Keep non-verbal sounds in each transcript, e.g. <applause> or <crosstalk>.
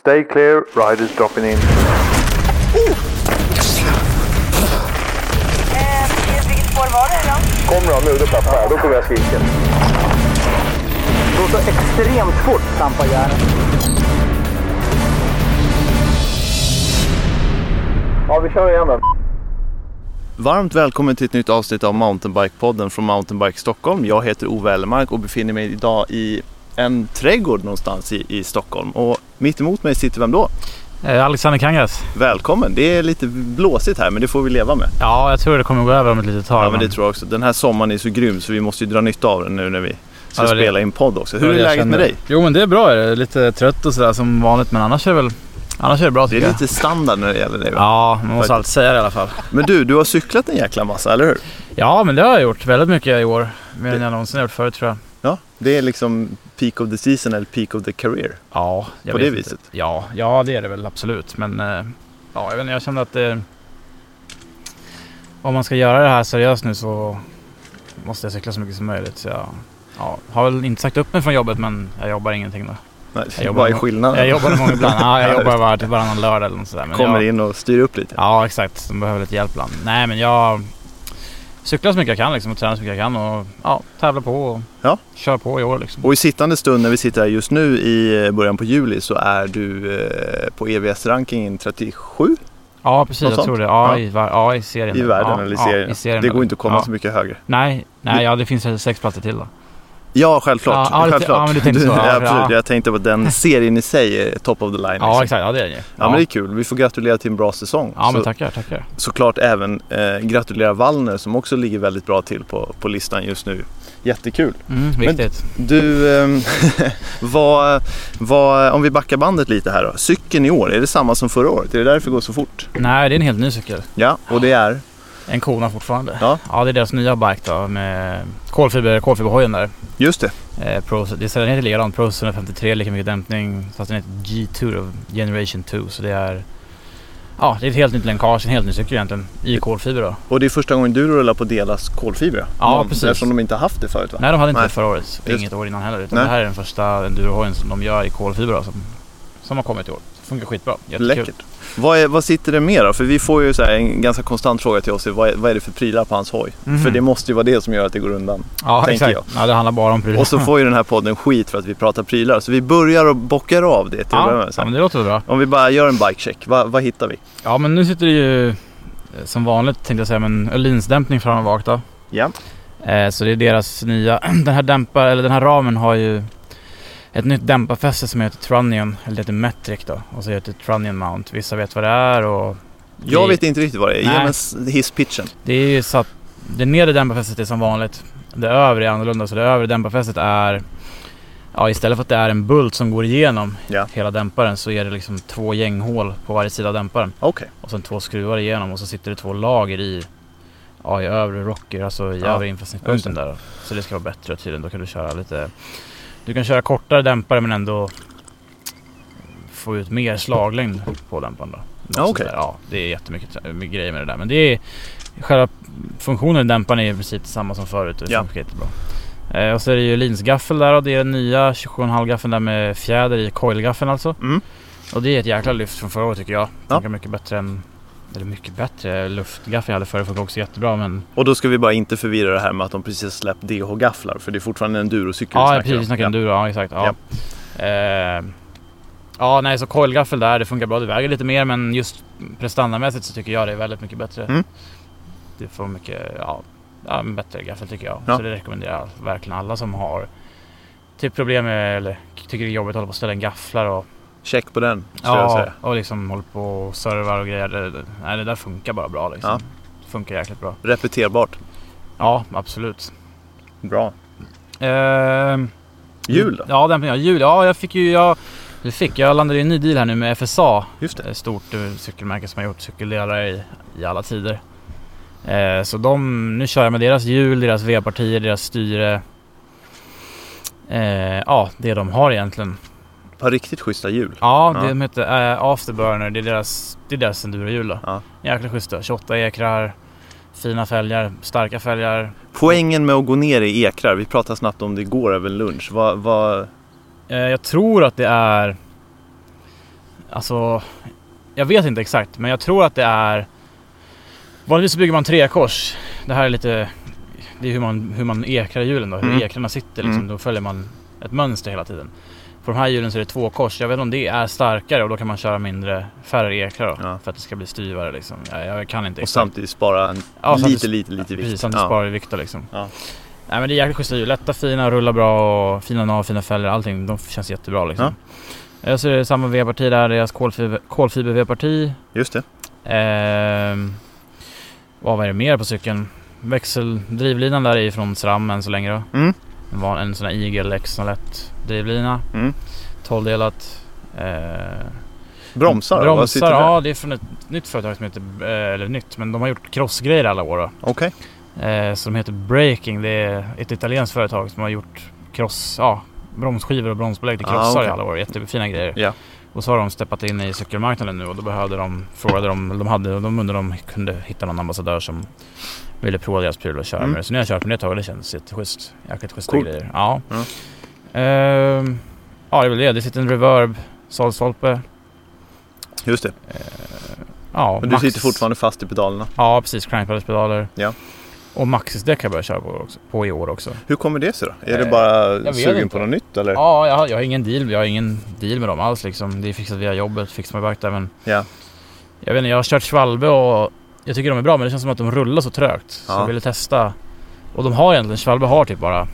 Stay clear, riders dropping in. Eh, vilket spår var det då? Kom då, nu, då tappar jag. Då kommer jag skriken. Går så extremt fort, trampar järnet. Ja, vi kör igen då. Varmt välkommen till ett nytt avsnitt av Mountainbike-podden från Mountainbike Stockholm. Jag heter Ove Ellemark och befinner mig idag i en trädgård någonstans i, i Stockholm. Och mitt emot mig sitter vem då? Eh, Alexander Kangas? Välkommen! Det är lite blåsigt här men det får vi leva med. Ja, jag tror det kommer gå över om ett litet tag. Ja men det tror jag också. Den här sommaren är så grym så vi måste ju dra nytta av den nu när vi ska Ja, det- spela in podd också. det Hur är jag läget känner. med dig? Jo men det är bra. är det. Lite trött och sådär som vanligt men annars är det väl annars är det bra Det tycker är jag. lite standard när det gäller dig va? Ja, man måste alltid säga det i alla fall. Men du, du har cyklat en jäkla massa, eller hur? Ja men det har jag gjort väldigt mycket i år. Mer Det- än jag någonsin har gjort förut tror jag. Ja, det är liksom peak of the season eller peak of the career. Ja, jag På vet det inte. viset? Ja, ja det är det väl absolut. Men eh, ja, jag, vet inte, jag kände att det, om man ska göra det här seriöst nu så måste jag cykla så mycket som möjligt. Så jag ja, har väl inte sagt upp mig från jobbet men jag jobbar ingenting då. Nej, Jag jobbar vad är med- skillnaden? Jag jobbar någon gång ibland. Ja, Ja, jag jobbar just var, typ varannan lördag eller något sådär. Men Kommer jag, in och styr upp lite. Ja, exakt. De behöver lite hjälp ibland. Nej, men jag cyklar så mycket jag kan liksom, och tränar så mycket jag kan och ja, tävlar på och Ja. kör på i år liksom. Och i sittande stund när vi sitter här just nu i eh, början på juli så är du eh, på EVS-rankingen 37 Ja, precis. Något Jag sånt? tror det. Ja, Ja. I, var- ja, i serien. i där. världen ja, eller i ja, serien. i serien det där. går inte att komma ja. så mycket högre. Nej, nej, ja det finns sex platser till då. Ja, självklart. Ja, ja, det- självklart. ja, men du tänkte <laughs> så. Ja, absolut. ja. Jag tänkte på att den serien i sig är top of the line. liksom. Ja, exakt. Ja, det är det ju. Ja, men det är kul. Vi får gratulera till en bra säsong. ja, men så, tackar, tackar. såklart även eh, gratulera Wallner som också ligger väldigt bra till på, på listan just nu. Jättekul. Mm, viktigt. Du, ehm, <laughs> vad, vad, om vi backar bandet lite här då. Cykeln i år, är det samma som förra året? Är det därför det går så fort? Nej, det är en helt ny cykel. Ja, och det är? En kona fortfarande. Ja. ja, det är deras nya bike då med kolfiber, kolfiberhojen där. Just det. Eh, Pro, det är sedan heter likadant, Pro 153, lika mycket dämpning. Fast den heter G2 då, Generation 2. Så det är... Ja, det är ett helt nytt länkage, en helt ny cykel egentligen. I kolfiber då. Och det är första gången du rullar på Delas kolfibra. Ja, De- precis. Eftersom de inte har haft det förut va? Nej, de hade inte Nej. det förra året. Just. Inget år innan heller. Utan Nej. det här är den första endurohojen som de gör i kolfiber då, som, som har kommit i år. Funkar skitbra. Jättekul. Läckert. Vad, är, vad sitter det med då? För vi får ju så här en ganska konstant fråga till oss. Vad är, vad är det för prylar på hans hoj? Mhm. För det måste ju vara det som gör att det går undan. Ja, tänker exakt. Ja, det handlar bara om prylar. Och så får ju den här podden skit för att vi pratar prylar. Så vi börjar och bockar av det till att börja ja, med. Så ja, här. men det låter väl bra. Om vi bara gör en bikecheck, vad, vad hittar vi? Ja, men nu sitter det ju eh, som vanligt tänkte jag säga, men Öhlins-dämpning fram och bak då. Ja. Eh, så det är deras nya, <clears throat> den här dämpar, eller den här ramen har ju ett nytt dämparfäste som heter Trunnion, eller det heter Metric då, och så heter det Trunnion Mount. Vissa vet vad det är och Jag Det- vet inte riktigt vad det är. Ge Nej. mig s- hisspitchen. det är ju så att det nedre dämparfästet är som vanligt. Det övre är annorlunda, så det övre dämparfästet är Ja, istället för att det är en bult som går igenom Ja. hela dämparen så är det liksom två gänghål på varje sida av dämparen. Okej. och sen två skruvar igenom och så sitter det två lager i, ja, i övre rocker, alltså i Ja, övre infästningspunkten där. Så det ska vara bättre tydligen. Då kan du köra lite, du kan köra kortare dämpare men ändå få ut mer slaglängd på dämparen då. Något Ja, sånt okej. där. Ja, det är jättemycket tra- mycket grejer med det där. Men det är, själva funktionen i dämparen är i princip samma som förut och det Ja. funkar jättebra. Eh, och så är det ju Lins gaffel där och det är den nya 27,5 gaffeln där med fjäder i coilgaffeln alltså. Mm. Och det är ett jäkla lyft från förra året tycker jag. Ja. Funkar mycket bättre än... Eller mycket bättre. Luftgaffeln jag hade förra funkar också jättebra men... Och då ska vi bara inte förvirra det här med att de precis har släppt DH-gafflar. För det är fortfarande en endurocykel Ja, vi precis. Vi snackade om. enduro. Ja, exakt. Ja. Eh, ja, nej så coilgaffel där. Det funkar bra. Det väger lite mer men just prestandamässigt så tycker jag det är väldigt mycket bättre. Mm. Det får mycket... Ja, ja en bättre gaffel tycker jag. Ja. Så det rekommenderar jag verkligen alla som har typ problem med eller tycker det är jobbigt att hålla på och ställa en gafflar och Ja. Check på den, skulle jag Ja, säga. och liksom håller på och servar och grejer. Det, det- nej, det där funkar bara bra liksom. Ja. Det funkar jäkligt bra. Repeterbart. Ja, absolut. Bra. Ehm, Jul då? Ja, den, ja, jul. Ja, jag fick ju... Jag, eller fick, jag landade i en ny deal här nu med FSA. Just det. Ett stort eh, cykelmärke som har gjort cykeldelar i, i alla tider. Eh, så de, nu kör jag med deras hjul, deras V-partier, deras styre. Eh, ja, det de har egentligen. Ett par riktigt schyssta jul. Ja, Ja. det de heter eh, Afterburner. Det är deras, det är deras endurohjul då. Ja. Jäkla schyssta. 28 ekrar, fina fälgar, starka fälgar. Poängen med att gå ner i ekrar, vi pratade snabbt om det igår över lunch. Vad, vad, Eh, jag tror att det är... Alltså, jag vet inte exakt men jag tror att det är... Vanligtvis så bygger man trekors. Det här är lite... Det är hur man, hur man ekrar hjulen då, hur Mm. ekrarna sitter liksom. Mm. Då följer man ett mönster hela tiden. På de här hjulen så är det två kors. Jag vet inte om det är starkare och då kan man köra mindre, färre ekrar då, Ja. för att det ska bli styvare liksom. Jag, jag kan inte Och samtidigt spara en Ja, så att lite, det- lite, lite vikt. Precis, samtidigt Ja. sparar vi vikt då, liksom. Ja. Nej men det är jäkligt schyssta hjul. Lätta, fina, rullar bra och fina nav, fina fällor. Allting, de känns jättebra liksom. Ja. Så är det samma V-parti där, deras kolfiber, kolfiber V-parti. Just det. Ehm, vad var det mer på cykeln? Växeldrivlinan där är ju från SRAM än så länge då. Mm. En, van, en sån här IGLX som lätt drivlina. Mm. 12-delat. Eh, Bromsar, då? Vad sitter Bromsar, där? ja det är från ett nytt företag som heter, eh, eller nytt, men de har gjort crossgrejer alla år då. Okej. Eh, som heter Breaking. Det är ett italienskt företag som har gjort cross, ja, bromsskivor och bromsbelägg till Ah, krossar okej. i alla år. Jättefina grejer. Ja. Och så har de steppat in i cykelmarknaden nu och då behövde de, frågade de, de hade, de undrade om de kunde hitta någon ambassadör som ville prova deras pryl och köra Mm. med det. Så nu har jag kört med det ett tag och det känns jätteschysst. Jäkligt schyssta Coolt. grejer. Ja. Ja. Ehm, ja, det är väl det. Det sitter en reverb, salstolpe. Just det. Ja, Men du max- sitter fortfarande fast i pedalerna. Ja, precis. Crankpedalspedaler. Ja. Och Maxis-däck har jag börjat köra på, också, på i år också. Hur kommer det sig då? Är Eh, du bara vet sugen inte. på något nytt eller? Ja, jag har, jag har ingen deal. Jag har ingen deal med dem alls liksom. Det är fixat via jobbet, fixat med back där men... Ja. Jag vet inte, jag har kört Svalbe och jag tycker de är bra men det känns som att de rullar så trögt. Så Ja. jag ville testa. Och de har egentligen, Svalbe har typ bara...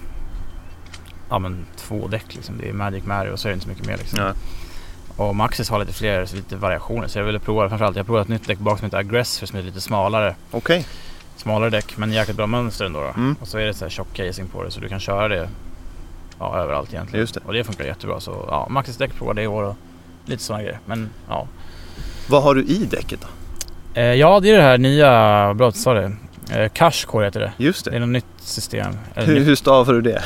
Ja men två däck liksom. Det är Magic Mary och så är det inte så mycket mer liksom. Nej. Och Maxis har lite fler, så lite variationer. Så jag ville prova, framförallt jag har provat ett nytt däck bak som heter Aggressor som är lite smalare. Okej. Smalare däck men jäkligt bra mönster ändå då. Mm. Och så är det så här tjock casing på det så du kan köra det ja, överallt egentligen. Just det. Och det funkar jättebra. Så ja, Maxis däck provade det i år och lite sådana grejer. Men ja. Vad har du i däcket då? Eh, ja, det är det här nya, bra att du sa det. Eh, Cashcore heter det. Just Det det. är något nytt system. Eller Hur, nytt. hur stavar du det?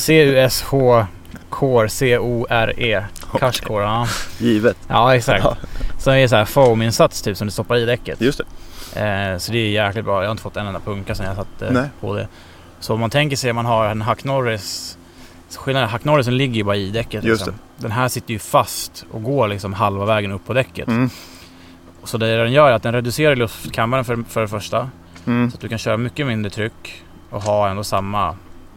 C-U-S-H Core, C-O-R-E. Cashcore, E. ja. Givet. Ja, exakt. Ja. Så det är så här foaminsats typ som du stoppar i däcket. Just det. Eh, så det är jäkligt bra. Jag har inte fått en enda punka sedan jag satte eh, Nej. på det. Så om man tänker sig att man har en Hack Norris. så Skillnaden är Hack Norrisen ligger ju bara i däcket. Just liksom. Den här sitter ju fast och går liksom halva vägen upp på däcket. Mm. Så det den gör är att den reducerar luftkammaren för, för det första. Mm. Så att du kan köra mycket mindre tryck och ha ändå samma.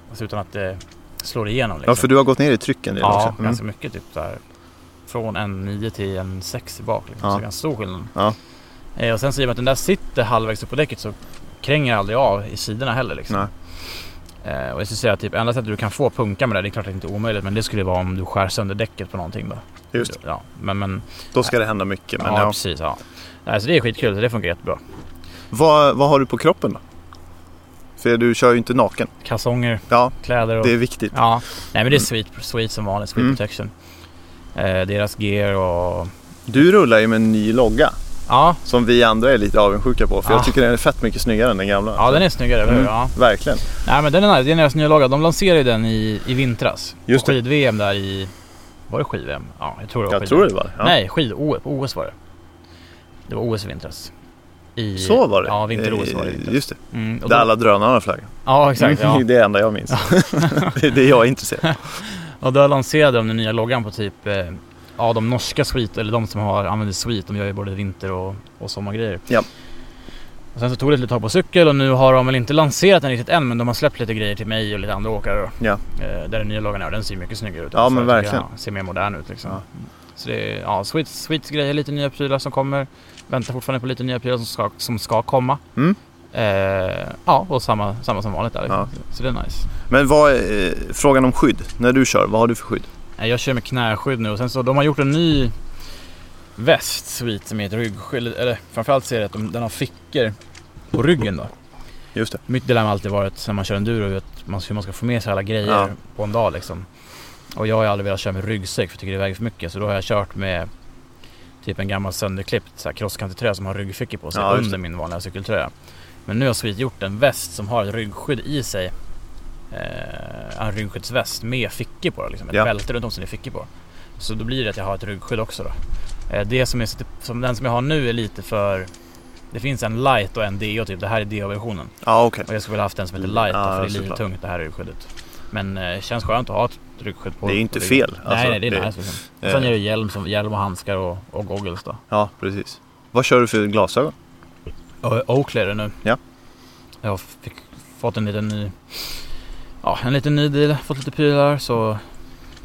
Alltså utan att det slår igenom. Liksom. Ja, för du har gått ner i trycken redan Ja, också. Mm. ganska mycket. Typ där. Från en 9 till en 6 i bak. Liksom. Ja. Så det är ganska stor skillnad. Ja. Eh, och sen så i och med att den där sitter halvvägs upp på däcket så kränger aldrig av i sidorna heller. Liksom. Nej. Eh, och jag skulle säga att typ, enda sättet du kan få punka med det, det är klart att det inte är omöjligt, men det skulle vara om du skär sönder däcket på någonting. Då. Just det. Ja, men, men, Då ska det hända mycket. Men ja, ja. precis. Ja. Nej, så det är skitkul, så det funkar jättebra. Vad, vad har du på kroppen då? För du kör ju inte naken. Kalsonger, Ja, kläder och... det är viktigt. Ja, nej men det är sweet, sweet som vanligt, sweet Mm. protection. Eh, deras gear och... Du rullar ju med en ny logga. Ja, Som vi andra är lite avundsjuka på. För Ah. jag tycker den är fett mycket snyggare än den gamla. ja den är snyggare, eller hur? Mm. Ja. Verkligen. Nej men den är nice, det är deras nya logga. De lanserade ju den i, i vintras. Just på det. skid-VM där i... Var det skid-VM? Ja, jag tror det var Jag skid- tror det var det. ja. Nej, skid-OS på OS var det. Det var OS i vintras. I, Så var det. Ja, vinter-OS var det i Eh, vintras. Just Mm. det. Mm, och Där då- alla drönarna flög. Ja, exakt. <laughs> Ja. Det är det enda jag minns. det är det jag är intresserad av. Och där lanserade de den nya loggan på typ eh, Ja, de norska Sweet, eller de som har, använder Sweet, de gör ju både vinter och, och sommargrejer. Ja. Och sen så tog det ett litet tag på cykel och nu har de väl inte lanserat den riktigt än men de har släppt lite grejer till mig och lite andra åkare då. Ja. Eh, där den nya loggan är och den ser ju mycket snyggare ut. Ja, också. men Jag tycker verkligen. den Ser mer modern ut liksom. Ja. Så det är, ja, Sweet, Sweets grejer, lite nya prylar som kommer. Väntar fortfarande på lite nya prylar som ska, som ska komma. Mm. Eh, ja, och samma, samma som vanligt där. liksom. Så det är nice. Men vad, eh, frågan om skydd. När du kör, vad har du för skydd? Nej, Jag kör med knäskydd nu och sen så de har gjort en ny väst svit som heter ryggskydd. Eller framförallt ser jag att de, den har fickor på ryggen då. Just det. Mitt dilemma har alltid varit när man kör enduro att man, hur man ska få med sig alla grejer Ja. på en dag liksom. Och jag har ju aldrig velat köra med ryggsäck för jag tycker det väger för mycket. Så då har jag kört med typ en gammal sönderklippt så här crosskantig tröja som har ryggfickor på sig Ja, just under min vanliga cykeltröja. Men nu har Sweet gjort en väst som har ett ryggskydd i sig. Eh, en ryggskyddsväst med fickor på. Liksom. Ett Ja. bälte runt om som det är fickor på. Så då blir det att jag har ett ryggskydd också då. Eh, det som, är, som den som jag har nu är lite för... Det finns en light och en DO typ. Det här är DO-versionen. Ja, okej. Och jag skulle väl haft en som heter light då, Ja, för det är lite såklart. tungt det här urskyddet. Men eh, känns skönt att ha ett rygskydd på Det är ju inte fel. Alltså, nej, nej, det är det- nice. Liksom. eh, Sen är det hjälm, som, hjälm och handskar och, och goggles då. Ja, precis. Vad kör du för glasögon? Och Oakley är det nu. Ja. Jag fick, fått en liten ny... Ja, en liten ny deal. Fått lite prylar så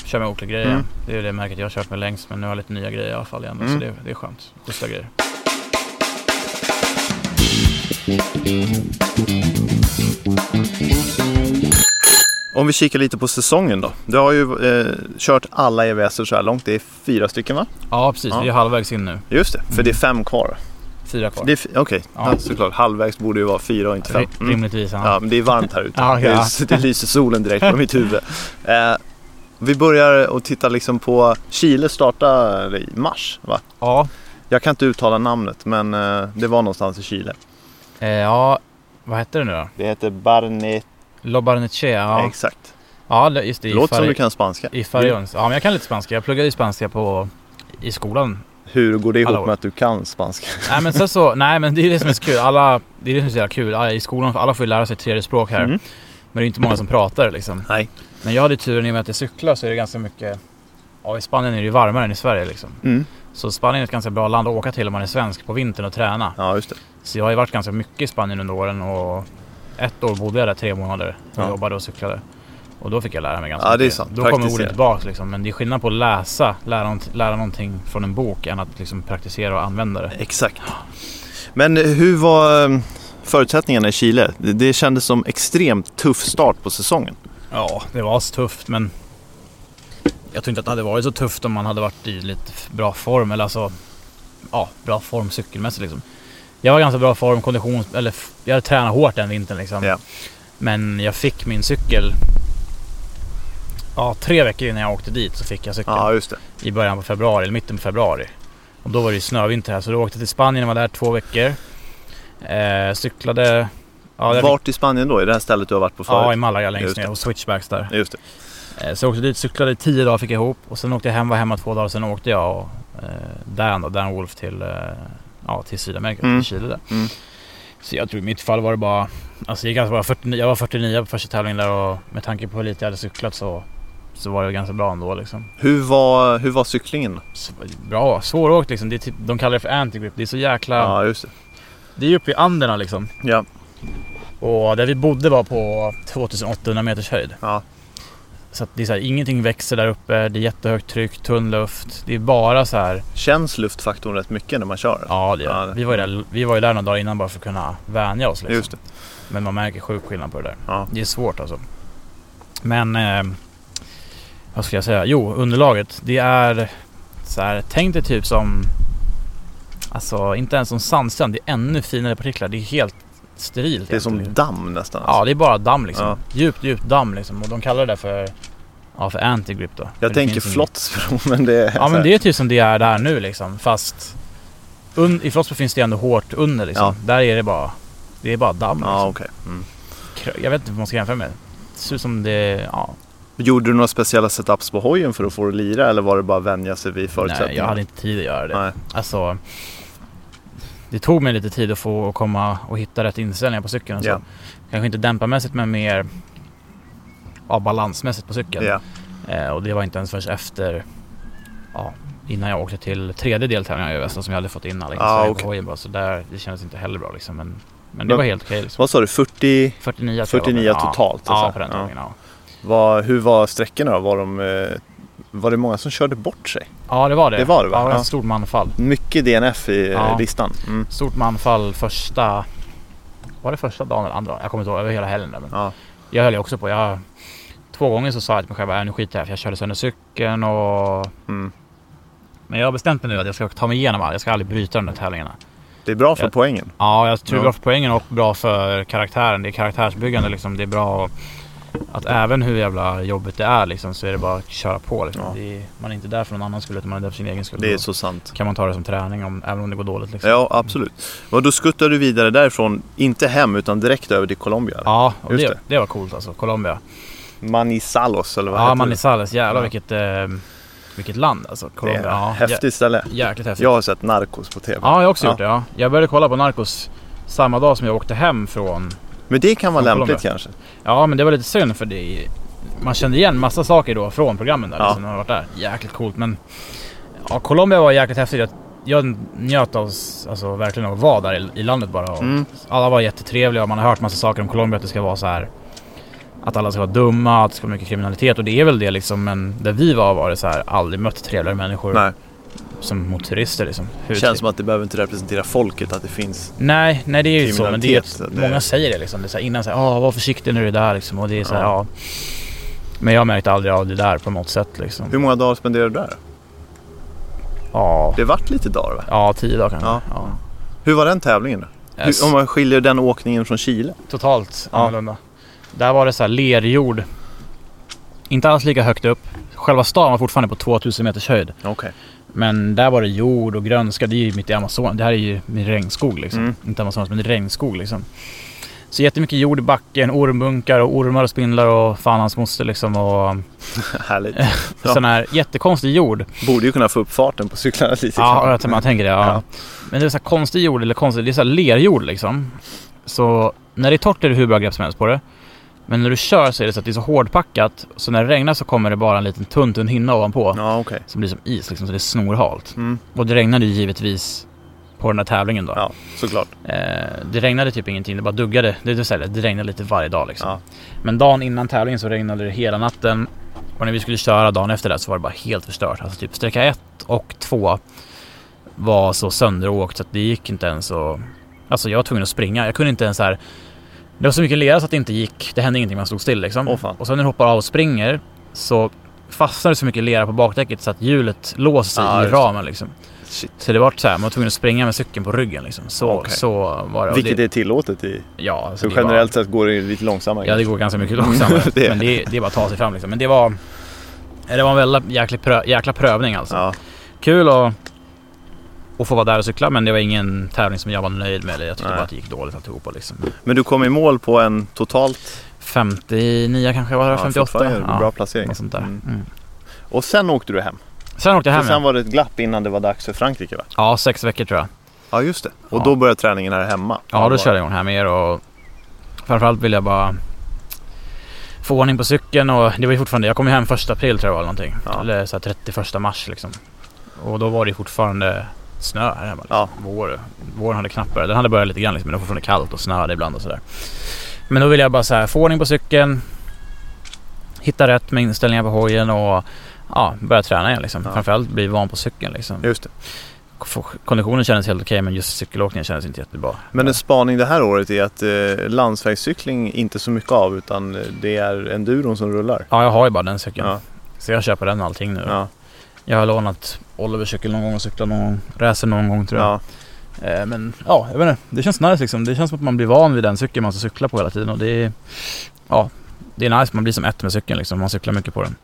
kör med Oakley-grejer. Mm. Det är ju det märket jag har kört med längst men nu har jag lite nya grejer i alla fall igen. Mm. Så det, det är skönt. Schyssta grejer. Om vi kikar lite på säsongen då. Du har ju eh, kört alla EVS så här långt. Det är fyra stycken va? Ja, precis. Ja. Vi är halvvägs in nu. Just det, för det är fem kvar. Fyra kvar. Det är f- Okej, Ja. Mm. ja, såklart. Halvvägs borde ju vara fyra och inte fem. Ri- Mm. Rimligtvis. Ja. Ja, men det är varmt här ute. Ja, ja. Det, det lyser solen direkt på mitt <laughs> huvud. Eh, vi börjar och titta liksom på Chile startar i mars va? Ja. Jag kan inte uttala namnet men eh, det var någonstans i Chile. Eh, ja, vad hette det nu då? Det heter Barnet. Lobarneche. Ja, Exakt. ja det- just det. i Låter som Fari- du kan spanska. I Farions. Ja, men jag kan lite spanska. Jag pluggade ju spanska på, i skolan Hur går det ihop Alla år. med att du kan spanska? Nej men sen så, <laughs> nej men det är ju det som är så kul. Alla, det är det som är så jävla kul. Alla, I skolan, för alla får ju lära sig ett tredje språk här. Mm. Men det är inte många som pratar liksom. Nej. Men jag hade ju turen i och med att jag cyklar så är det ganska mycket, ja i Spanien är det ju varmare än i Sverige liksom. Mm. Så Spanien är ett ganska bra land att åka till om man är svensk på vintern och träna. Ja, just det. Så jag har ju varit ganska mycket i Spanien under åren och ett år bodde jag där tre månader och Ja. jobbade och cyklade. Och då fick jag lära mig ganska Ja, det är mycket. sant. Då kommer Praktisera. orden tillbaka liksom. Men det är skillnad på att läsa, lära, nånt- lära någonting från en bok än att liksom praktisera och använda det. Exakt. Men hur var eh, förutsättningarna i Chile? Det- Det kändes som extremt tuff start på säsongen. Ja, det var tufft men jag tror inte att det hade varit så tufft om man hade varit i lite f- bra form eller alltså ja, bra form cykelmässigt liksom. Jag var i ganska bra form, kondition, eller f- jag hade tränat hårt den vintern liksom. Ja. Men jag fick min cykel Ja, tre veckor innan jag åkte dit så fick jag cykeln just det. i början på februari, eller mitten på februari. Och då var det ju snövinter här så då åkte jag till Spanien och var där två veckor. Eh, cyklade... Ja, där Vart i Spanien då? Är det här stället du har varit på fick, ja, i förut? Malaga längst Just ner det. och switchbacks där. Ja, just det. Eh, Så jag åkte dit, cyklade i tio dagar, fick jag ihop. Och sen åkte jag hem, var hemma två dagar. Sen åkte jag och eh, Dan, då, Dan Wolf till, eh, ja, till Sydamerika, Mm. till Chile där. Mm. Så jag tror i mitt fall var det bara, alltså jag, gick alltså bara 49, jag var 49 på första tävlingen där och med tanke på hur lite jag hade cyklat så, så var det ganska bra ändå liksom. Hur var, hur var cyklingen? Så, bra, svåråkt liksom. Det är typ, de kallar det för anti-grip. Det är så jäkla, Ja, just det. det är ju uppe i Anderna liksom. Ja. Och där vi bodde var på 2800 meters höjd. Ja. Så att det är så här, ingenting växer där uppe, det är jättehögt tryck, tunn luft. Det är bara så här, Känns luftfaktorn rätt mycket när man kör? ja det, Ja, är det- det. Vi, var ju där, vi var ju där några dagar innan bara för att kunna vänja oss. Liksom. Just det. Men man märker sjuk skillnad på det där. Ja. Det är svårt alltså. Men, eh, vad ska jag säga? Jo, underlaget. Det är så här, tänk dig typ som, alltså inte ens som sandstrand, det är ännu finare partiklar. Det är helt sterilt. Det är egentligen. som damm nästan. alltså. Ja, det är bara damm liksom. Ja. Djupt, djupt damm liksom. Och de kallar det där för, ja, för anti-grip då. För Jag det tänker finns ingen- Flottsbro <laughs> men det är... Ja, men det är typ som det är där nu liksom. Fast un, i Flotsbo finns det ändå hårt under liksom. Ja. Där är det bara, det är bara damm Ja, liksom. okej. Mm. Krö- Jag vet inte vad man ska jämföra med. Det ser ut som det, ja. Gjorde du några speciella setups på hojen för att få det att lira eller var det bara att vänja sig vid förutsättningarna? Nej, jag hade inte tid att göra det. Nej. Alltså, det tog mig lite tid att få att komma och hitta rätt inställningar på cykeln. och Så. Ja. Kanske inte dämparmässigt men mer ja, balansmässigt på cykeln. Ja. Eh, och det var inte ens förrän efter, ja, innan jag åkte till tredje deltävlingen i Östa som jag hade fått in alla Ah, inställningar okej. på hojen bara. Så där, det kändes inte heller bra liksom. Men, men det Men- var helt okej liksom. Vad sa du, 40? 49, tror jag var 49 på den. totalt, Ja, alltså. ja på den Ja. tävlingen. Ja. Var, hur var sträckorna då? Var, de, eh, var det många som körde bort sig? ja, det var det. Det var det, va? Ja, det var Ja. ett stort manfall. Mycket DNF i eh, Ja. listan. Mm. Stort manfall första... Var det första dagen eller andra dagen? Jag kommer inte ihåg, över hela helgen. Där, men Ja. Jag höll ju också på. Jag, två gånger så sa jag till mig själv att nu skiter jag i det här, för jag körde sönder cykeln och... Mm. Men jag har bestämt mig nu att jag ska ta mig igenom allt. Jag ska aldrig bryta de där tävlingarna. Det är bra för Ja. poängen. Ja, jag tror det Ja. är bra för poängen och bra för karaktären. Det är karaktärsbyggande liksom. Det är bra att även hur jävla jobbigt det är liksom, så är det bara att köra på. Liksom. Ja. Det är, man är inte där för någon annans skull utan man är där för sin egen skull. Det är Då så sant. kan man ta det som träning om, även om det går dåligt. Liksom. Ja, absolut. Och då skuttade du vidare därifrån, inte hem utan direkt över till Colombia? eller? Ja, och Just det, det. det var coolt alltså. Colombia. Manisalos eller vad Ja, heter Manizales. Jävlar Ja. vilket, eh, vilket land alltså. det? Det Colombia. är Ja, häftigt ställe. jä- Jäkligt häftigt. Jag har sett Narcos på TV. Ja, jag har också Ja. gjort det. Ja. Jag började kolla på Narcos samma dag som jag åkte hem från... Men det kan vara Från lämpligt kanske? Ja, men det var lite synd för det man kände igen massa saker då från programmen där. Ja. Liksom, när man varit där. Jäkligt coolt men... Ja, Colombia var jäkligt häftigt. Jag, jag njöt av s- alltså, verkligen av att vara där i, i landet bara. Och Mm. Alla var jättetrevliga och man har hört massa saker om Colombia att det ska vara så här. Att alla ska vara dumma, att det ska vara mycket kriminalitet och det är väl det liksom men där vi var var det så här aldrig mött trevligare människor Nej, som mot turister liksom. Hur det känns som att det behöver inte representera folket att det finns. Nej, nej det är ju så. Men det är, Kriminalitet, ett- det- Många säger det liksom. Det är så här, innan såhär, ah, var försiktig när du är där liksom. Och det är så här, ja. Men jag märkte aldrig av det där på något sätt liksom. Hur många dagar spenderade du där? Ja, Det vart lite dagar va? ja tio dagar kanske. Ja. Ja. Hur var den tävlingen då? Yes. Hur, om man skiljer den åkningen från Chile? Totalt Ja. annorlunda. Där var det så här lerjord. Inte alls lika högt upp. Själva stan var fortfarande på 2000 meters höjd. Okej. Men där var det jord och grönska. Det är ju mitt i Amazonas. Det här är ju min regnskog liksom. Mm. Inte Amazonas men det är regnskog liksom. Så jättemycket jord i backen, ormbunkar och ormar och spindlar och fan hans moster liksom. Och <laughs> Härligt. Ja. sån här jättekonstig jord. Borde ju kunna få upp farten på cyklarna lite. Ja, grann. jag tror man tänker det. Ja. Ja. Men det är så här konstig jord, eller konstig, det är så här lerjord liksom. Så när det är torrt är det hur bra grepp som helst på det. Men när du kör så är det så att det är så hårdpackat, så när det regnar så kommer det bara en liten tunn, tunn hinna ovanpå. Ja, okej. Som blir som is liksom, så det är snorhalt. Mm. Och det regnade ju givetvis på den här tävlingen då. Ja, såklart. Eh, det regnade typ ingenting, det bara duggade. Det, vill säga, det regnade lite varje dag liksom. Ja. Men dagen innan tävlingen så regnade det hela natten. Och när vi skulle köra dagen efter det så var det bara helt förstört. Alltså typ sträcka 1 och 2 var så sönderåkt så att det gick inte ens att... Alltså jag var tvungen att springa. Jag kunde inte ens så här... Det var så mycket lera så att det inte gick. Det hände ingenting, man stod still liksom. Åh, fan. och sen när du hoppar av och springer så fastnar det så mycket lera på bakdäcket så att hjulet låser sig Ja, i just det. ramen liksom. Shit. Så det var så här, man var tvungen att springa med cykeln på ryggen liksom. Så, Okej. så var det. Och Vilket det är tillåtet i... ja, alltså Så det var- generellt sett går det ju lite långsammare. Ja, det går ganska mycket långsammare. <laughs> Det- Men det, det är bara att ta sig fram liksom. Men det var... Det var en väldigt jäkla, prö, jäkla prövning alltså. Ja. Kul att, att få vara där och cykla men det var ingen tävling som jag var nöjd med. Eller jag tyckte Nej. bara att det gick dåligt alltihopa liksom. Men du kom i mål på en totalt... 59 kanske var det, ja, 58. fortfarande Bra placering. något sånt där. Mm. Mm. Och sen åkte du hem. Sen åkte jag För hem. sen ja. var det ett glapp innan det var dags för Frankrike va? Ja, sex veckor tror jag. Ja just det. Och Ja. då började träningen här hemma. Ja, då körde jag igång här med er och framförallt ville jag bara få ordning på cykeln och det var ju fortfarande, jag kom ju hem första april tror jag eller någonting. Ja. Eller så här 31 mars liksom. Och då var det ju fortfarande snö här hemma. Liksom. Ja. Vår, våren hade knappt börjat, den hade börjat lite grann liksom, men det var fortfarande kallt och snöade ibland och sådär. Men då ville jag bara så här, få ordning på cykeln, hitta rätt med inställningar på hojen och ja, börja träna igen liksom. Ja. Framförallt bli van på cykeln liksom. Just det. Konditionen kändes helt okej men just cykelåkningen kändes inte jättebra. Men en spaning det här året är att eh, landsvägscykling inte så mycket av utan eh, det är enduron som rullar. Ja, jag har ju bara den cykeln. Ja, Så jag köper den och allting nu. ja, Jag har lånat Olivers cykel någon gång och cyklat någon gång. Racer någon gång tror jag. ja. Eh, men ja, jag vet inte. Det känns nice liksom. Det känns som att man blir van vid den cykeln man ska cykla på hela tiden. Och det är, ja, det är nice. Man blir som ett med cykeln liksom. Man cyklar mycket på den.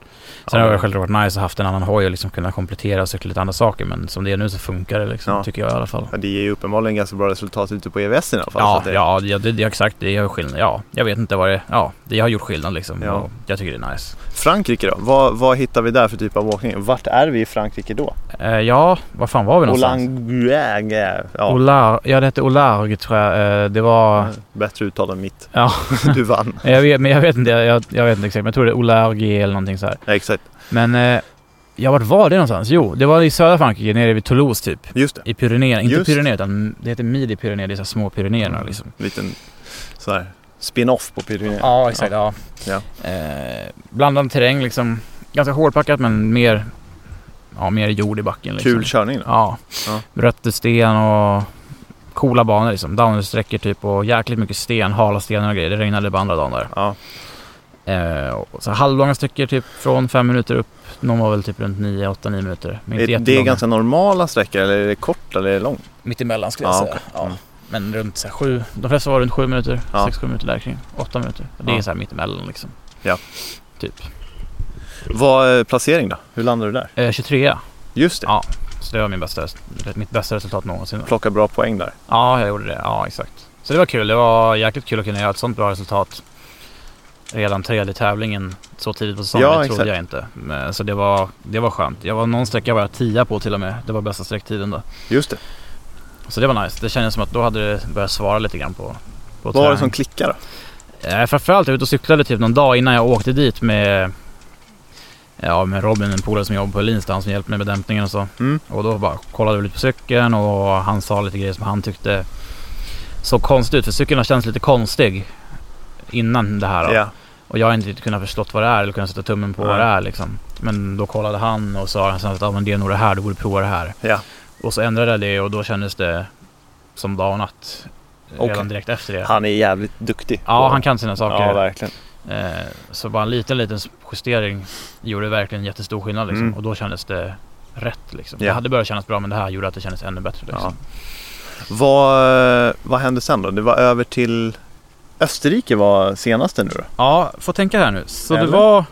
Sen Ja. har det självklart varit nice att haft en annan hoj och liksom kunna komplettera och cykla lite andra saker. Men som det är nu så funkar det liksom. Ja. Tycker jag i alla fall. ja det ger ju uppenbarligen ganska bra resultat ute på EVS i alla fall. så Ja, att det, ja, det, det, det, exakt. Det gör skillnad. Ja, jag vet inte vad det Ja, det har gjort skillnad liksom. Ja. Och jag tycker det är nice. Frankrike då? Vad, vad hittar vi där för typ av åkning? Vart är vi i Frankrike då? Eh, ja, var fan var vi någonstans? Olangue. Ja, Olar, ja det hette Olarg tror jag. Eh, Det var... bättre uttal än mitt. Ja. <laughs> Du vann. Jag vet, men jag vet inte, jag, jag vet inte exakt. Men jag tror det är Olargi eller någonting så här. Ja, exakt. Men... Eh, ja, vart var det någonstans? Jo, det var i södra Frankrike, nere vid Toulouse typ. Just det. I Pyrenéerna. Inte Just. Pyrenéer utan det heter Midi-Pyrenéer. Det är så här små Pyrenéerna Mm. liksom. Liten sån här spin-off på Pyrenéerna. Ja, exakt. Ja. Eh, blandad terräng liksom. Ganska hårdpackat men mer... Ja, mer jord i backen liksom. Kul körning då. Ja. Ja. Rötter, sten och coola banor liksom. Downhillsträckor typ och jäkligt mycket sten, hala stenar och grejer. Det regnade på andra dagen där. Ja. Eh, och så halvlånga sträckor typ från fem minuter upp. Någon var väl typ runt 9, 8, 9 minuter. Men inte Är det jättelånga. ganska normala sträckor eller är det kort eller är det långt? Mittemellan skulle jag Ja, säga. okej. Ja. Mm. Men runt så här, sju, de flesta var runt sju minuter, Ja. sex, sju minuter där kring. Åtta minuter. Det Ja. är så här mittemellan liksom. Ja. Typ. Vad är placering då? Hur landar du där? Eh, 23 Just det, Ja. Så det var min bästa, mitt bästa resultat någonsin. plocka bra poäng där. Ja, jag gjorde det. Ja, exakt. Så det var kul. Det var jäkligt kul att kunna göra ett sånt bra resultat. Redan tredje tävlingen så tidigt på säsongen, Ja, det exakt. trodde jag inte. Men, Så det var, det var skönt. Jag var någon sträcka var jag tia på till och med. Det var bästa sträcktiden då. Just det. Så det var nice. Det kändes som att då hade det börjat svara lite grann på, på Vad var det träning. som klickade då? Eh, Framförallt jag var ute och cyklade typ någon dag innan jag åkte dit med, ja, med Robin, en polare som jobbar på Öhlins, där, han som hjälpte mig med dämpningen och så. Mm. Och då bara kollade vi lite på cykeln och han sa lite grejer som han tyckte såg konstigt ut. För cykeln har känts lite konstig innan det här. då. Ja. Och jag har inte riktigt kunnat förstått vad det är eller kunnat sätta tummen på Nej. vad det är liksom. Men då kollade han och sa sen att ah, men det är nog det här, du borde prova det här. Ja. Och så ändrade jag det och då kändes det som dag och natt. Okej. Redan direkt efter det. Han är jävligt duktig. Ja, han kan sina saker. Ja, verkligen. Eh, Så bara en liten, liten justering gjorde verkligen jättestor skillnad liksom. Mm. Och då kändes det rätt liksom. Ja. Det hade börjat kännas bra men det här gjorde att det kändes ännu bättre liksom. Vad, eh, vad hände sen då? Det var över till Österrike var senaste nu då? Ja, får tänka här nu. Så det Eller? var,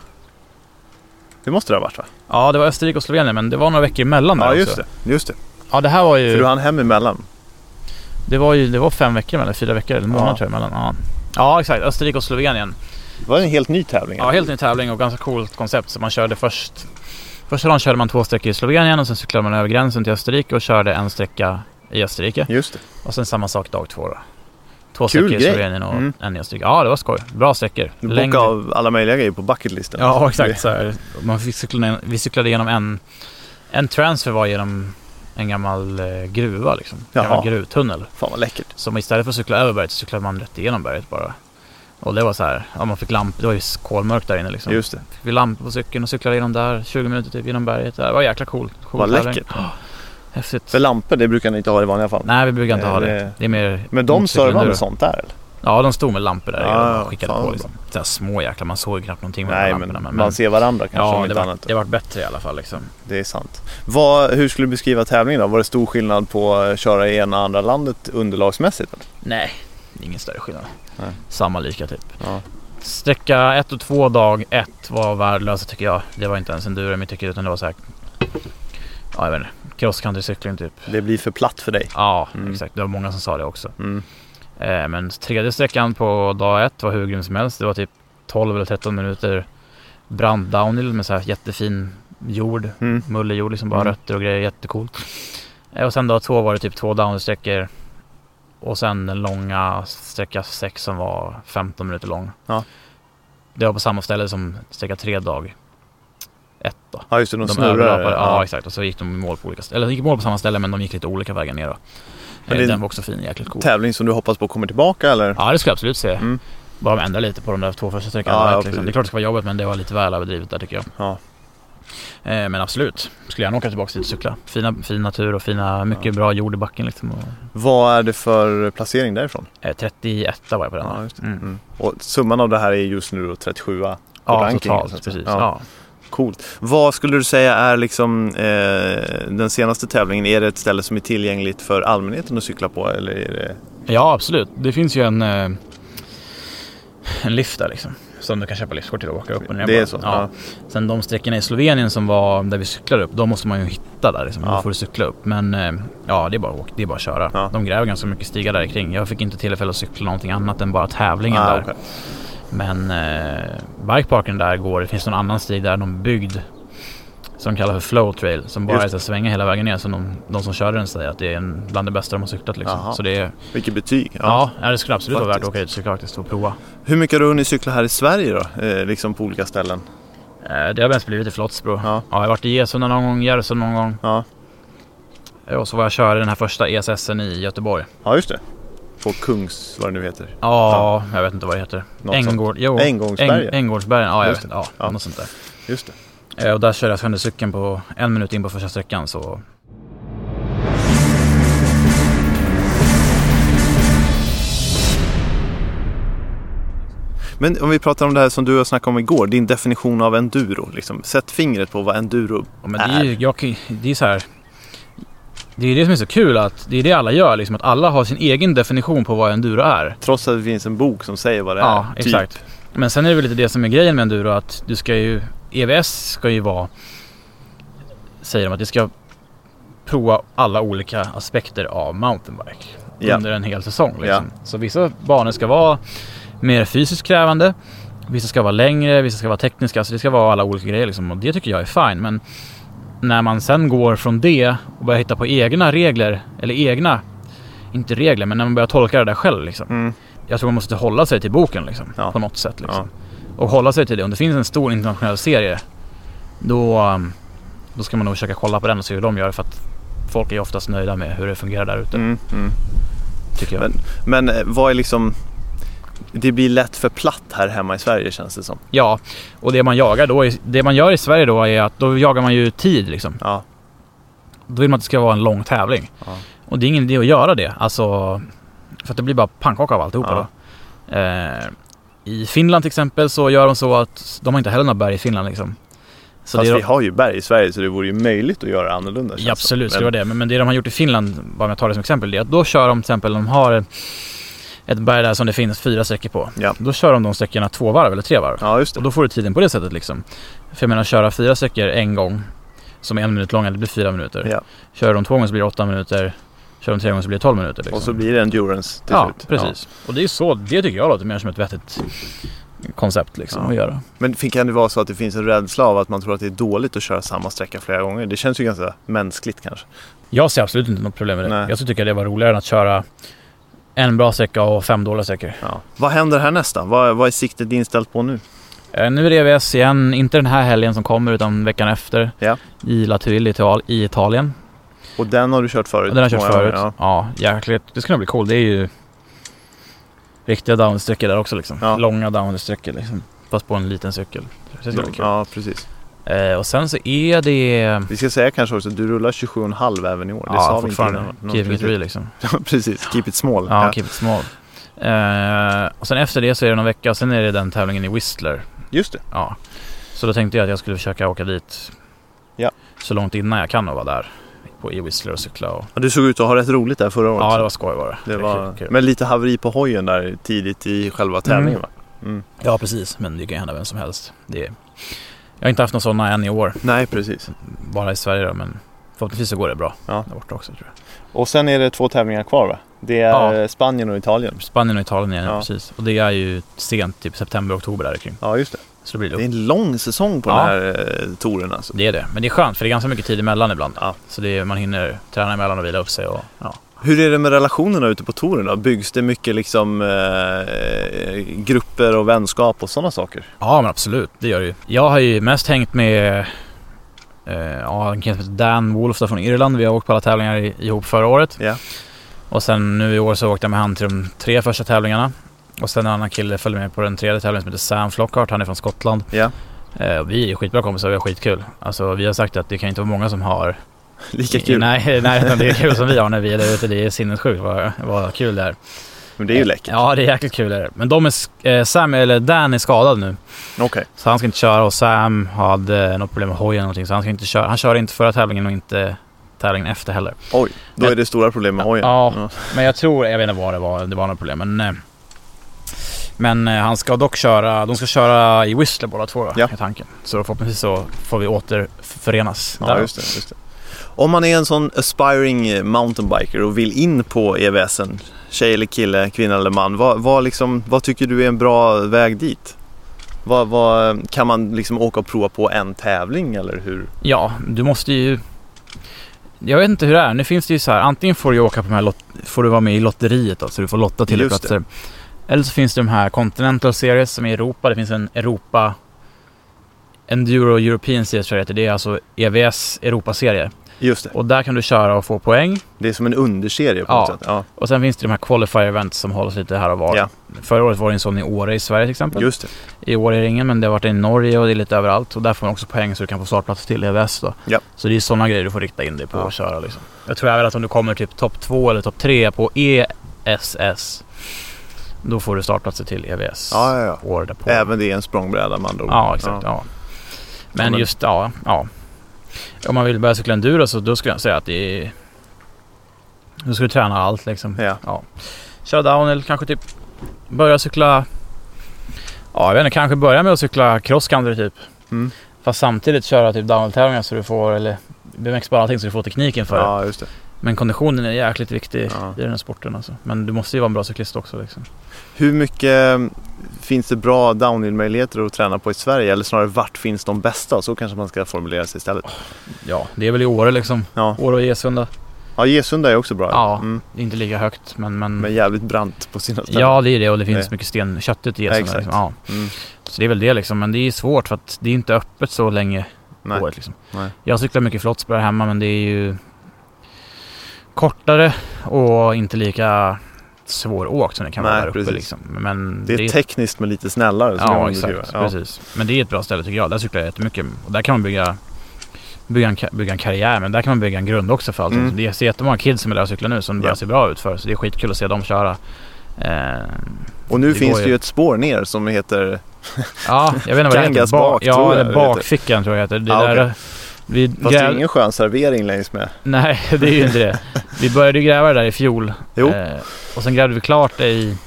Det måste det ha varit va? ja det var Österrike och Slovenien men det var några veckor emellan där Ja, just också. det. Just det. Ja det här var ju, För du hann hem emellan. det var ju, det var fem veckor emellan, fyra veckor eller en månad Ja. tror jag emellan. Ja. ja exakt, Österrike och Slovenien. Det var en helt ny tävling. Ja, helt ny tävling och ganska coolt koncept. Så man körde först... Första dagen körde man två sträckor i Slovenien och sen cyklade man över gränsen till Österrike och körde en sträcka i Österrike. Just det. Och sen samma sak dag två då. Två Kul sträckor grej. i Slovenien och Mm. en i Österrike. Ja, det var skoj. Bra sträckor. Du Längd- bockade av alla möjliga grejer på bucketlisten. Ja, exakt. Så här. Man fick cykla, vi cyklade genom en... En transfer var genom en gammal eh, gruva liksom. En Jaha. gammal gruvtunnel. Fan vad läckert. Så man istället för att cykla över berget så cyklade man rätt igenom berget bara. Och det var så här, ja, man fick lamp, det var ju kolmörkt där inne liksom. Just det. Fick vi lampor på cykeln och cyklade genom där, 20 minuter typ genom berget. där. Det var jäkla cool. cool Vad tävling. läckert. Ja, <gasps> Häftigt. För lampor, det brukar ni inte ha i vanliga fall. Nej, vi brukar inte Eh, ha det- det. Det är mer Men de motorcyklar servar nu. med sånt där eller? Ja, de stod med lampor där. Ja, Ja, och skickade fan på vad liksom. Så här små jäklar, man såg ju knappt någonting med Nej, de här men, lamporna. man ser varandra kanske om ja, det inte var, annat. det var bättre i alla fall liksom. Det är sant. Vad, hur skulle du beskriva tävlingen då? Var det stor skillnad på att köra i ena och andra landet underlagsmässigt? eller? Nej, ingen större skillnad. Nej. Samma lika typ. Ja. Sträcka 1 och 2 dag 1 var värdelösa tycker jag. Det var inte ens enduro i mitt tycke utan det var så här... Ja, jag vet inte. Cross country-cykling typ. Det blir för platt för dig. Ja, Mm. exakt. Det var många som sa det också. Mm. Eh, men tredje sträckan på dag ett var hur grym som helst. Det var typ 12 eller 13 minuter brant downhill med så här jättefin jord. Mm. Mullerjord, liksom bara Mm. rötter och grejer. Jättecoolt. Eh, och sen dag två var det typ två downhillsträckor. Och sen den långa sträcka sex som var 15 minuter lång. Ja. Det var på samma ställe som sträcka tre dag ett då. Ja just det, de, De snurrar. överlapade, ja, exakt. Och så gick de i mål på olika ställen. Eller de gick i mål på samma ställe men de gick lite olika vägar ner då. Men Men det- Den var också fin, jäkligt cool. Tävling som du hoppas på kommer tillbaka eller? Ja, det skulle jag absolut säga. Mm. Bara de ändrar lite på de där två första sträckorna. Ja, ja, direkt, liksom. precis. Det är klart det ska vara jobbigt men det var lite väl överdrivet där tycker jag. Ja. Eh, men absolut, skulle gärna åka tillbaka dit och cykla. Fina, fin natur och fina, mycket bra jord i backen liksom. Och, Vad är det för placering därifrån? eh, 31 var jag på den. Ja, här. just det. Mm. Mm. Och summan av det här är just nu då 37 på Ja, rankingen, så totalt. att säga. Precis. Ja. Ja. Coolt. Vad skulle du säga är liksom eh, den senaste tävlingen? Är det ett ställe som är tillgängligt för allmänheten att cykla på eller är det Ja, absolut. Det finns ju en, eh, en lift där liksom. Som du kan köpa liftkort till och åka upp och ner Det är bara. så? Ja. Ja. Sen de sträckorna i Slovenien som var där vi cyklade upp, de måste man ju hitta där liksom. Ja. Då får du cykla upp. Men eh, ja, det är bara att åka, det är bara att köra. Ja. De gräver ganska mycket stigar där kring. Jag fick inte tillfälle att cykla någonting annat än bara tävlingen där. Ah, okej. Men eh, bikeparken där går, det finns någon annan stig där, de byggd som de kallar för flow trail som bara Just är så här, svänga hela vägen ner. Så de, de som körde den säger att det är en, bland det bästa de har cyklat Jaha. liksom. Så det är Vilket betyg? Ja, ja det skulle absolut vara värt att Faktiskt. åka dit och cykla faktiskt och prova. Hur mycket har du hunnit cykla här i Sverige då? Eh, liksom på olika ställen? Eh, Det har mest blivit i Flottsbro. Ja. Ja. jag har varit i Gesunda någon gång, Järvsö någon gång. Ja. Eh, Och så var jag körde den här första ESSen i Göteborg. Ja, just det. På Kungs, vad det nu heter. Ja, jag vet inte vad det heter. Något sånt. jo. Änggångsbergen. Äng, Änggårdsbergen, ja jag Just vet inte. Ja, Ja. något sånt där. Just det. Eh, Och där körde jag sönder cykeln på en minut in på första sträckan så... Men om vi pratar om det här som du har snackat om igår, din definition av enduro. Liksom. Sätt fingret på vad enduro Ja, Men det är ju, jag, kan ju- det är så här... Det är det som är så kul att det är det alla gör liksom. Att alla har sin egen definition på vad enduro är. Trots att det finns en bok som säger vad det Ja, är. typ. exakt. Men sen är det väl lite det som är grejen med enduro att du ska ju, EVS ska ju vara, säger de att du ska prova alla olika aspekter av mountainbike Ja. under en hel säsong. Liksom. Så vissa banor ska vara mer fysiskt krävande, vissa ska vara längre, vissa ska vara tekniska, så det ska vara alla olika grejer liksom. Och det tycker jag är fine. Men när man sen går från det och börjar hitta på egna regler, eller egna, inte regler, men när man börjar tolka det där själv liksom. Mm. jag tror man måste hålla sig till boken liksom, Ja. på något sätt. Liksom. Och hålla sig till det. Om det finns en stor internationell serie då, um, då ska man nog försöka kolla på den och se hur de gör. För att folk är ju oftast nöjda med hur det fungerar där ute. Mm, mm. Tycker jag. Men- Men eh, vad är liksom... Det blir lätt för platt här hemma i Sverige känns det som. Ja, och det man jagar då, är, det man gör i Sverige då är att då jagar man ju tid liksom. Ja. Då vill man att det ska vara en lång tävling. Ja. Och det är ingen idé att göra det. Alltså, för att det blir bara pannkaka av alltihopa Ja. då. Eh, I Finland till exempel så gör de så att de har inte heller några berg i Finland liksom. Så Fast det vi har ju berg i Sverige så det vore ju möjligt att göra annorlunda. känns Ja, absolut, som. skulle Men, vara det. Men, men det de har gjort i Finland, bara om jag tar det som exempel, det är att då kör de till exempel, de har ett berg där som det finns fyra sträckor på. Ja. Då kör de de sträckorna två varv eller tre varv. ja, just Och det. då får du tiden på det sättet liksom. För jag menar köra fyra sträckor en gång som är en minut långa, det blir fyra minuter. Ja. Kör de två gånger så blir det åtta minuter. Kör de tre gånger så blir det tolv minuter. Liksom. Och så blir det endurance till ja, slut. precis. Och det är så, det tycker jag låter mer som ett vettigt koncept liksom Ja. att göra. Ja. Men fin- kan det vara så att det finns en rädsla av att man tror att det är dåligt att köra samma sträcka flera gånger? Det känns ju ganska mänskligt kanske. Jag ser absolut inte något problem med det. Nej. Jag skulle tycka det var roligare än att köra en bra sträcka och fem dåliga sträckor. Ja. Vad händer här nästa? Vad, vad är siktet inställt på nu? Eh, Nu är det EVS igen, inte den här helgen som kommer utan veckan efter. Ja. I La Tuille i Ital- i Italien. Och den har du kört förut? Ja, den har jag kört många förut. gånger, Ja. jäkligt. Det skulle nog bli cool. Det är ju riktiga downsträckor där också liksom. Ja. Långa downsträckor liksom. Fast på en liten cykel. Det skulle bli kul. Ja, precis. Eh, och sen så är det... Vi ska säga kanske också att du rullar 27,5 även i år. det ja, sa vi inte fortfarande. innan. Någon- Keeping it precis. real liksom. <laughs> Ja, precis. Keep it small. Ja, Ja. keep it small. Eh, och sen efter det så är det någon vecka och sen är det den tävlingen i Whistler. Just det. Ja. Så då tänkte jag att jag skulle försöka åka dit Ja. så långt innan jag kan och vara där. På i Whistler och cykla och... Ja, Du såg ut att ha rätt roligt där förra året. Ja, det var skoj bara. Det var, kul, kul. Men lite haveri på hojen där tidigt i själva tävlingen Mm. va? Ja, precis. Men det kan ju hända vem som helst. Det är... Jag har inte haft några sådana än i år. Nej, precis. Bara i Sverige då, men förhoppningsvis så går det bra Ja. där borta också tror jag. Och sen är det två tävlingar kvar va? Det är Ja. Spanien och Italien. Spanien och Italien igen, Ja. precis. Och det är ju sent, typ september, oktober där kring. Ja, just det. Så det blir Det är lugnt. en lång säsong på Ja. den här eh, touren alltså. Det är det. Men det är skönt för det är ganska mycket tid emellan ibland. Ja. Så det är, man hinner träna emellan och vila upp sig och ja. Hur är det med relationerna ute på touren då? Byggs det mycket liksom eh, grupper och vänskap och sådana saker? <laughs> Ja men absolut, det gör det ju. Jag har ju mest hängt med eh, ja, en kille som heter Dan Wolf där från Irland. Vi har åkt på alla tävlingar i, ihop förra året. Ja. Och sen nu i år så åkte jag med han till de tre första tävlingarna. Och sen en annan kille följde med på den tredje tävlingen som heter Sam Flockhart. Han är från Skottland. Ja. Eh, och vi är ju skitbra kompisar och vi har skitkul. Alltså vi har sagt att det kan inte vara många som har... Lika kul. Nej, nej utan det är kul som vi har när vi är där ute. Det är sinnessjukt vad, vad kul det är. Men det är ju läckert. Ja, det är jäkligt kul är det. Men de är, sk- eh, Sam, eller Dan är skadad nu. Okej. Så han ska inte köra och Sam hade något problem med hojen eller någonting så han ska inte köra. Han körde inte förra tävlingen och inte tävlingen efter heller. Oj, då är det stora problem med hojen. Ja. Men jag tror, jag vet inte vad det var, det var något problem men... eh, Men eh, han ska dock köra, de ska köra i Whistler båda två då, Ja. är tanken. Så förhoppningsvis så får vi återförenas Ja, just det, just det. Om man är en sån aspiring eh, mountainbiker och vill in på EVSen, tjej eller kille, kvinna eller man, vad, vad, liksom, vad tycker du är en bra väg dit? Vad, vad, kan man liksom åka och prova på en tävling eller hur? Ja, du måste ju... Jag vet inte hur det är. Nu finns det ju så här. Antingen får du åka på de här lot- får du vara med i lotteriet då, så du får lotta till Just det. platser. Eller så finns det de här Continental Series som är i Europa. Det finns en Europa... Enduro European Series tror jag det heter. Det är alltså EVS Europaserie. Just det, Och där kan du köra och få poäng. det är som en underserie på Ja. något sätt. Ja, Och sen finns det de här Qualifier Events som hålls lite här och var. Ja. Förra året var det en sån i Åre i Sverige till exempel. just det. I år är det ingen, men det har varit i Norge och det är lite överallt. Och där får man också poäng så du kan få startplats till EVS då. Ja. Så det är sådana grejer du får rikta in dig på Ja. och köra liksom. Jag tror även att om du kommer typ topp 2 eller topp 3 på ESS, då får du startplatser till EVS Ja, ja, ja. år därpå. Även det är en språngbräda med andra ord. Ja, exakt. Ja. Men men- just, ja, ja. Om man vill börja cykla enduro så då skulle jag säga att det är... Då ska du träna allt liksom. Ja. Köra down eller kanske typ börja cykla... Ja, jag vet inte. Kanske börja med att cykla cross country typ. Mm. Fast samtidigt köra typ downhill-tävlingar så du får, eller BMX bara allting så du får tekniken för det. ja, just det. Men konditionen är jäkligt viktig Ja. i den här sporten alltså. Men du måste ju vara en bra cyklist också liksom. Hur mycket eh, finns det bra downhill-möjligheter att träna på i Sverige? Eller snarare vart finns de bästa? Så kanske man ska formulera sig istället. Ja, det är väl i Åre liksom. Ja, Åre och Gesunda. Ja, Gesunda är också bra. Ja. Mm. Det är inte lika högt men... men, Men jävligt brant på sina ställen. ja, det är det och det finns Nej. mycket sten, köttet i Ja, Gäsunda. exakt. liksom. ja. Mm. Så det är väl det liksom. Men det är svårt för att det är inte öppet så länge Nej. på året. Liksom. Nej. Jag cyklar mycket flottsberg här hemma men det är ju kortare och inte lika svåråkt som det kan vara Nej, där uppe. precis. Liksom. Men Det är tekniskt men lite snällare. skulle jag Ja, nog exakt. beskriva. Ja. Precis. Men det är ett bra ställe tycker jag. Där cyklar jag jättemycket. Och där kan man bygga, bygga, en, ka- bygga en karriär, men där kan man bygga en grund också för allting. Mm. Det är så jättemånga kids som är där och cyklar nu som det börjar Ja. se bra ut för. Så det är skitkul att se dem köra. Eh, Och nu Det finns går det ju. ju ett spår ner som heter... ja, jag vet inte vad det heter. Kangas bak, tror ja, jag eller det heter. bakfickan tror jag heter. Det Ah, där, okej. vi Fast det är gräv- ingen skön servering längs med. <laughs> Nej, det är ju <laughs> inte det. Vi började ju gräva det där i fjol. Jo. Eh, och sen grävde vi klart det i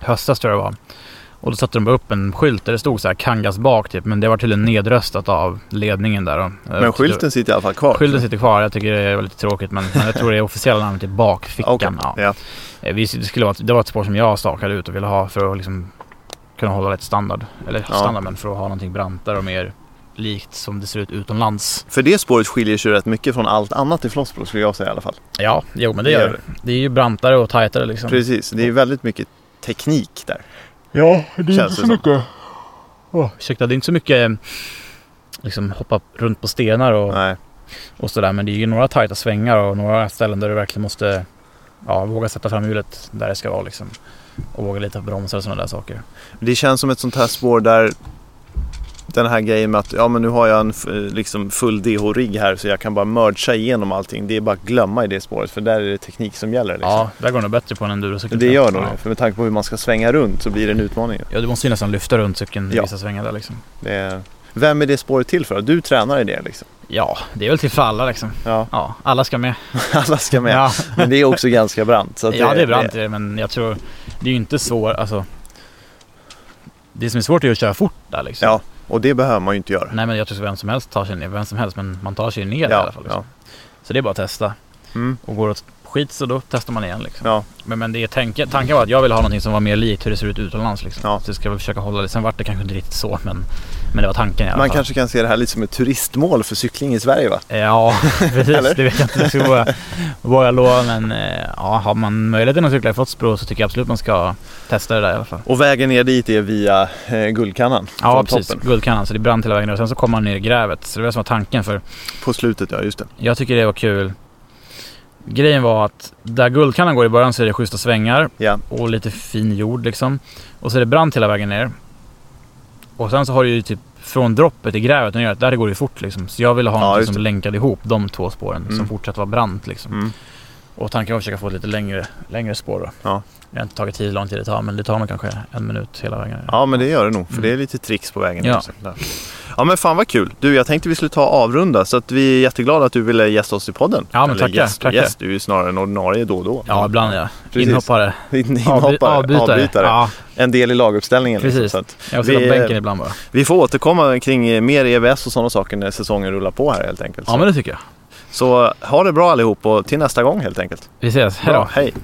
höstas tror jag det var. Och då satte de bara upp en skylt där det stod så här Kangas bak typ. Men det var tydligen nedröstat av ledningen där. då. Eh, Men skylten sitter i alla fall kvar. Skylten sitter kvar. Jag tycker det var lite tråkigt men men jag tror det officiella namnet är bakfickan. Okej, Ja. ja. Eh, Vi, det, skulle vara, ett- det var ett spår som jag stakade ut och ville ha för att liksom kunna hålla rätt standard. Eller Ja. standard men för att ha någonting brantare och mer likt som det ser ut utomlands. För det spåret skiljer sig rätt mycket från allt annat i Flåssbro skulle jag säga i alla fall. Ja, jo men det gör det. Det är ju brantare och tajtare liksom. Precis, det är väldigt mycket teknik där. Ja, det Känns det som. mycket. Oh, ursäkta, det är inte så mycket eh, liksom hoppa runt på stenar och, Nej. och sådär. Men det är ju några tajta svängar och några ställen där du verkligen måste ja, våga sätta fram hjulet där det ska vara liksom. Och våga lita på bromsar och sådana där saker. Det känns som ett sånt här spår där den här grejen med att ja, men nu har jag en f- liksom full DH-rigg här så jag kan bara mergea igenom allting. Det är bara att glömma i det spåret för där är det teknik som gäller. Liksom. Ja, där går det nog bättre på en endurocykel. Det gör nog ja. det. För med tanke på hur man ska svänga runt så blir det en utmaning. Ja, du måste ju nästan lyfta runt cykeln i Ja. vissa svängar där liksom. Det är... Vem är det spåret till för? Du tränar i det liksom. Ja, det är väl till för alla liksom. Ja, <laughs> Ja, alla ska med. alla ska med. Ja. Men det är också ganska brant. Så att ja, det är brant det, men jag tror det är ju inte svårt. Alltså, det som är svårt är ju att köra fort där liksom. Ja. Och det behöver man ju inte göra. Nej, men jag tror att vem som helst tar sig ner. Vem som helst, men man tar sig ner i alla fall. Liksom. ja. Så det är bara att testa. Mm. Och går det åt skit så då testar man igen. Liksom. Ja. Men, men det är tanke, tanken var att jag ville ha någonting som var mer likt hur det ser ut utomlands. Liksom. Ja. Så ska vi försöka hålla det. Sen vart det kanske inte riktigt så, men, men det var tanken i alla Man fall. kanske kan se det här lite som ett turistmål för cykling i Sverige va? Eh, Ja, <laughs> Eller? precis. det vet jag inte exakt vad jag- vad jag lovar. Men eh, ja, har man möjligheten att cykla i Fotsbro så tycker jag absolut man ska testa det där i alla fall. Och vägen ner dit är via eh, Guldkannan. Ja, från precis. toppen. Guldkannan. Så det brann hela vägen ner. Och sen så kom man ner i grävet. Så det var det som var tanken. för På slutet ja, just det. Jag tycker det var kul. Grejen var att där guldkannan går i början så är det schyssta svängar Ja. och lite fin jord liksom. Och så är det brant hela vägen ner. Och sen så har du ju typ från droppet i grävet och ner, där går det ju fort liksom. Så jag ville ha Ja, något just som länkade ihop de två spåren som Mm. fortsatte vara brant liksom. Mm. Och tanken var att försöka få ett lite längre, längre spår då. Ja. Jag har inte tagit tid hur lång tid det tar men det tar nog kanske en minut hela vägen ner. Ja, men det gör det nog. För Mm. det är lite tricks på vägen. Ja. också. Där. ja, men fan vad kul. Du, jag tänkte vi skulle ta och avrunda. Så att vi är jätteglada att du ville gästa oss i podden. Ja, men Eller tackar, Gäst, tackar. gäst, du är ju snarare en ordinarie då och då. <laughs> Ja, ibland ja. Precis. Inhoppare. Inhoppare, avbytare. Ja, En del i laguppställningen. liksom, Precis. Så att jag sitter Vi- på bänken ibland bara. vi får återkomma kring eh, mer EVS och sådana saker när säsongen rullar på här helt enkelt. Ja, men det tycker jag. Så ha det bra allihop och till nästa gång helt enkelt. Vi ses. Hej Bra, då. hej.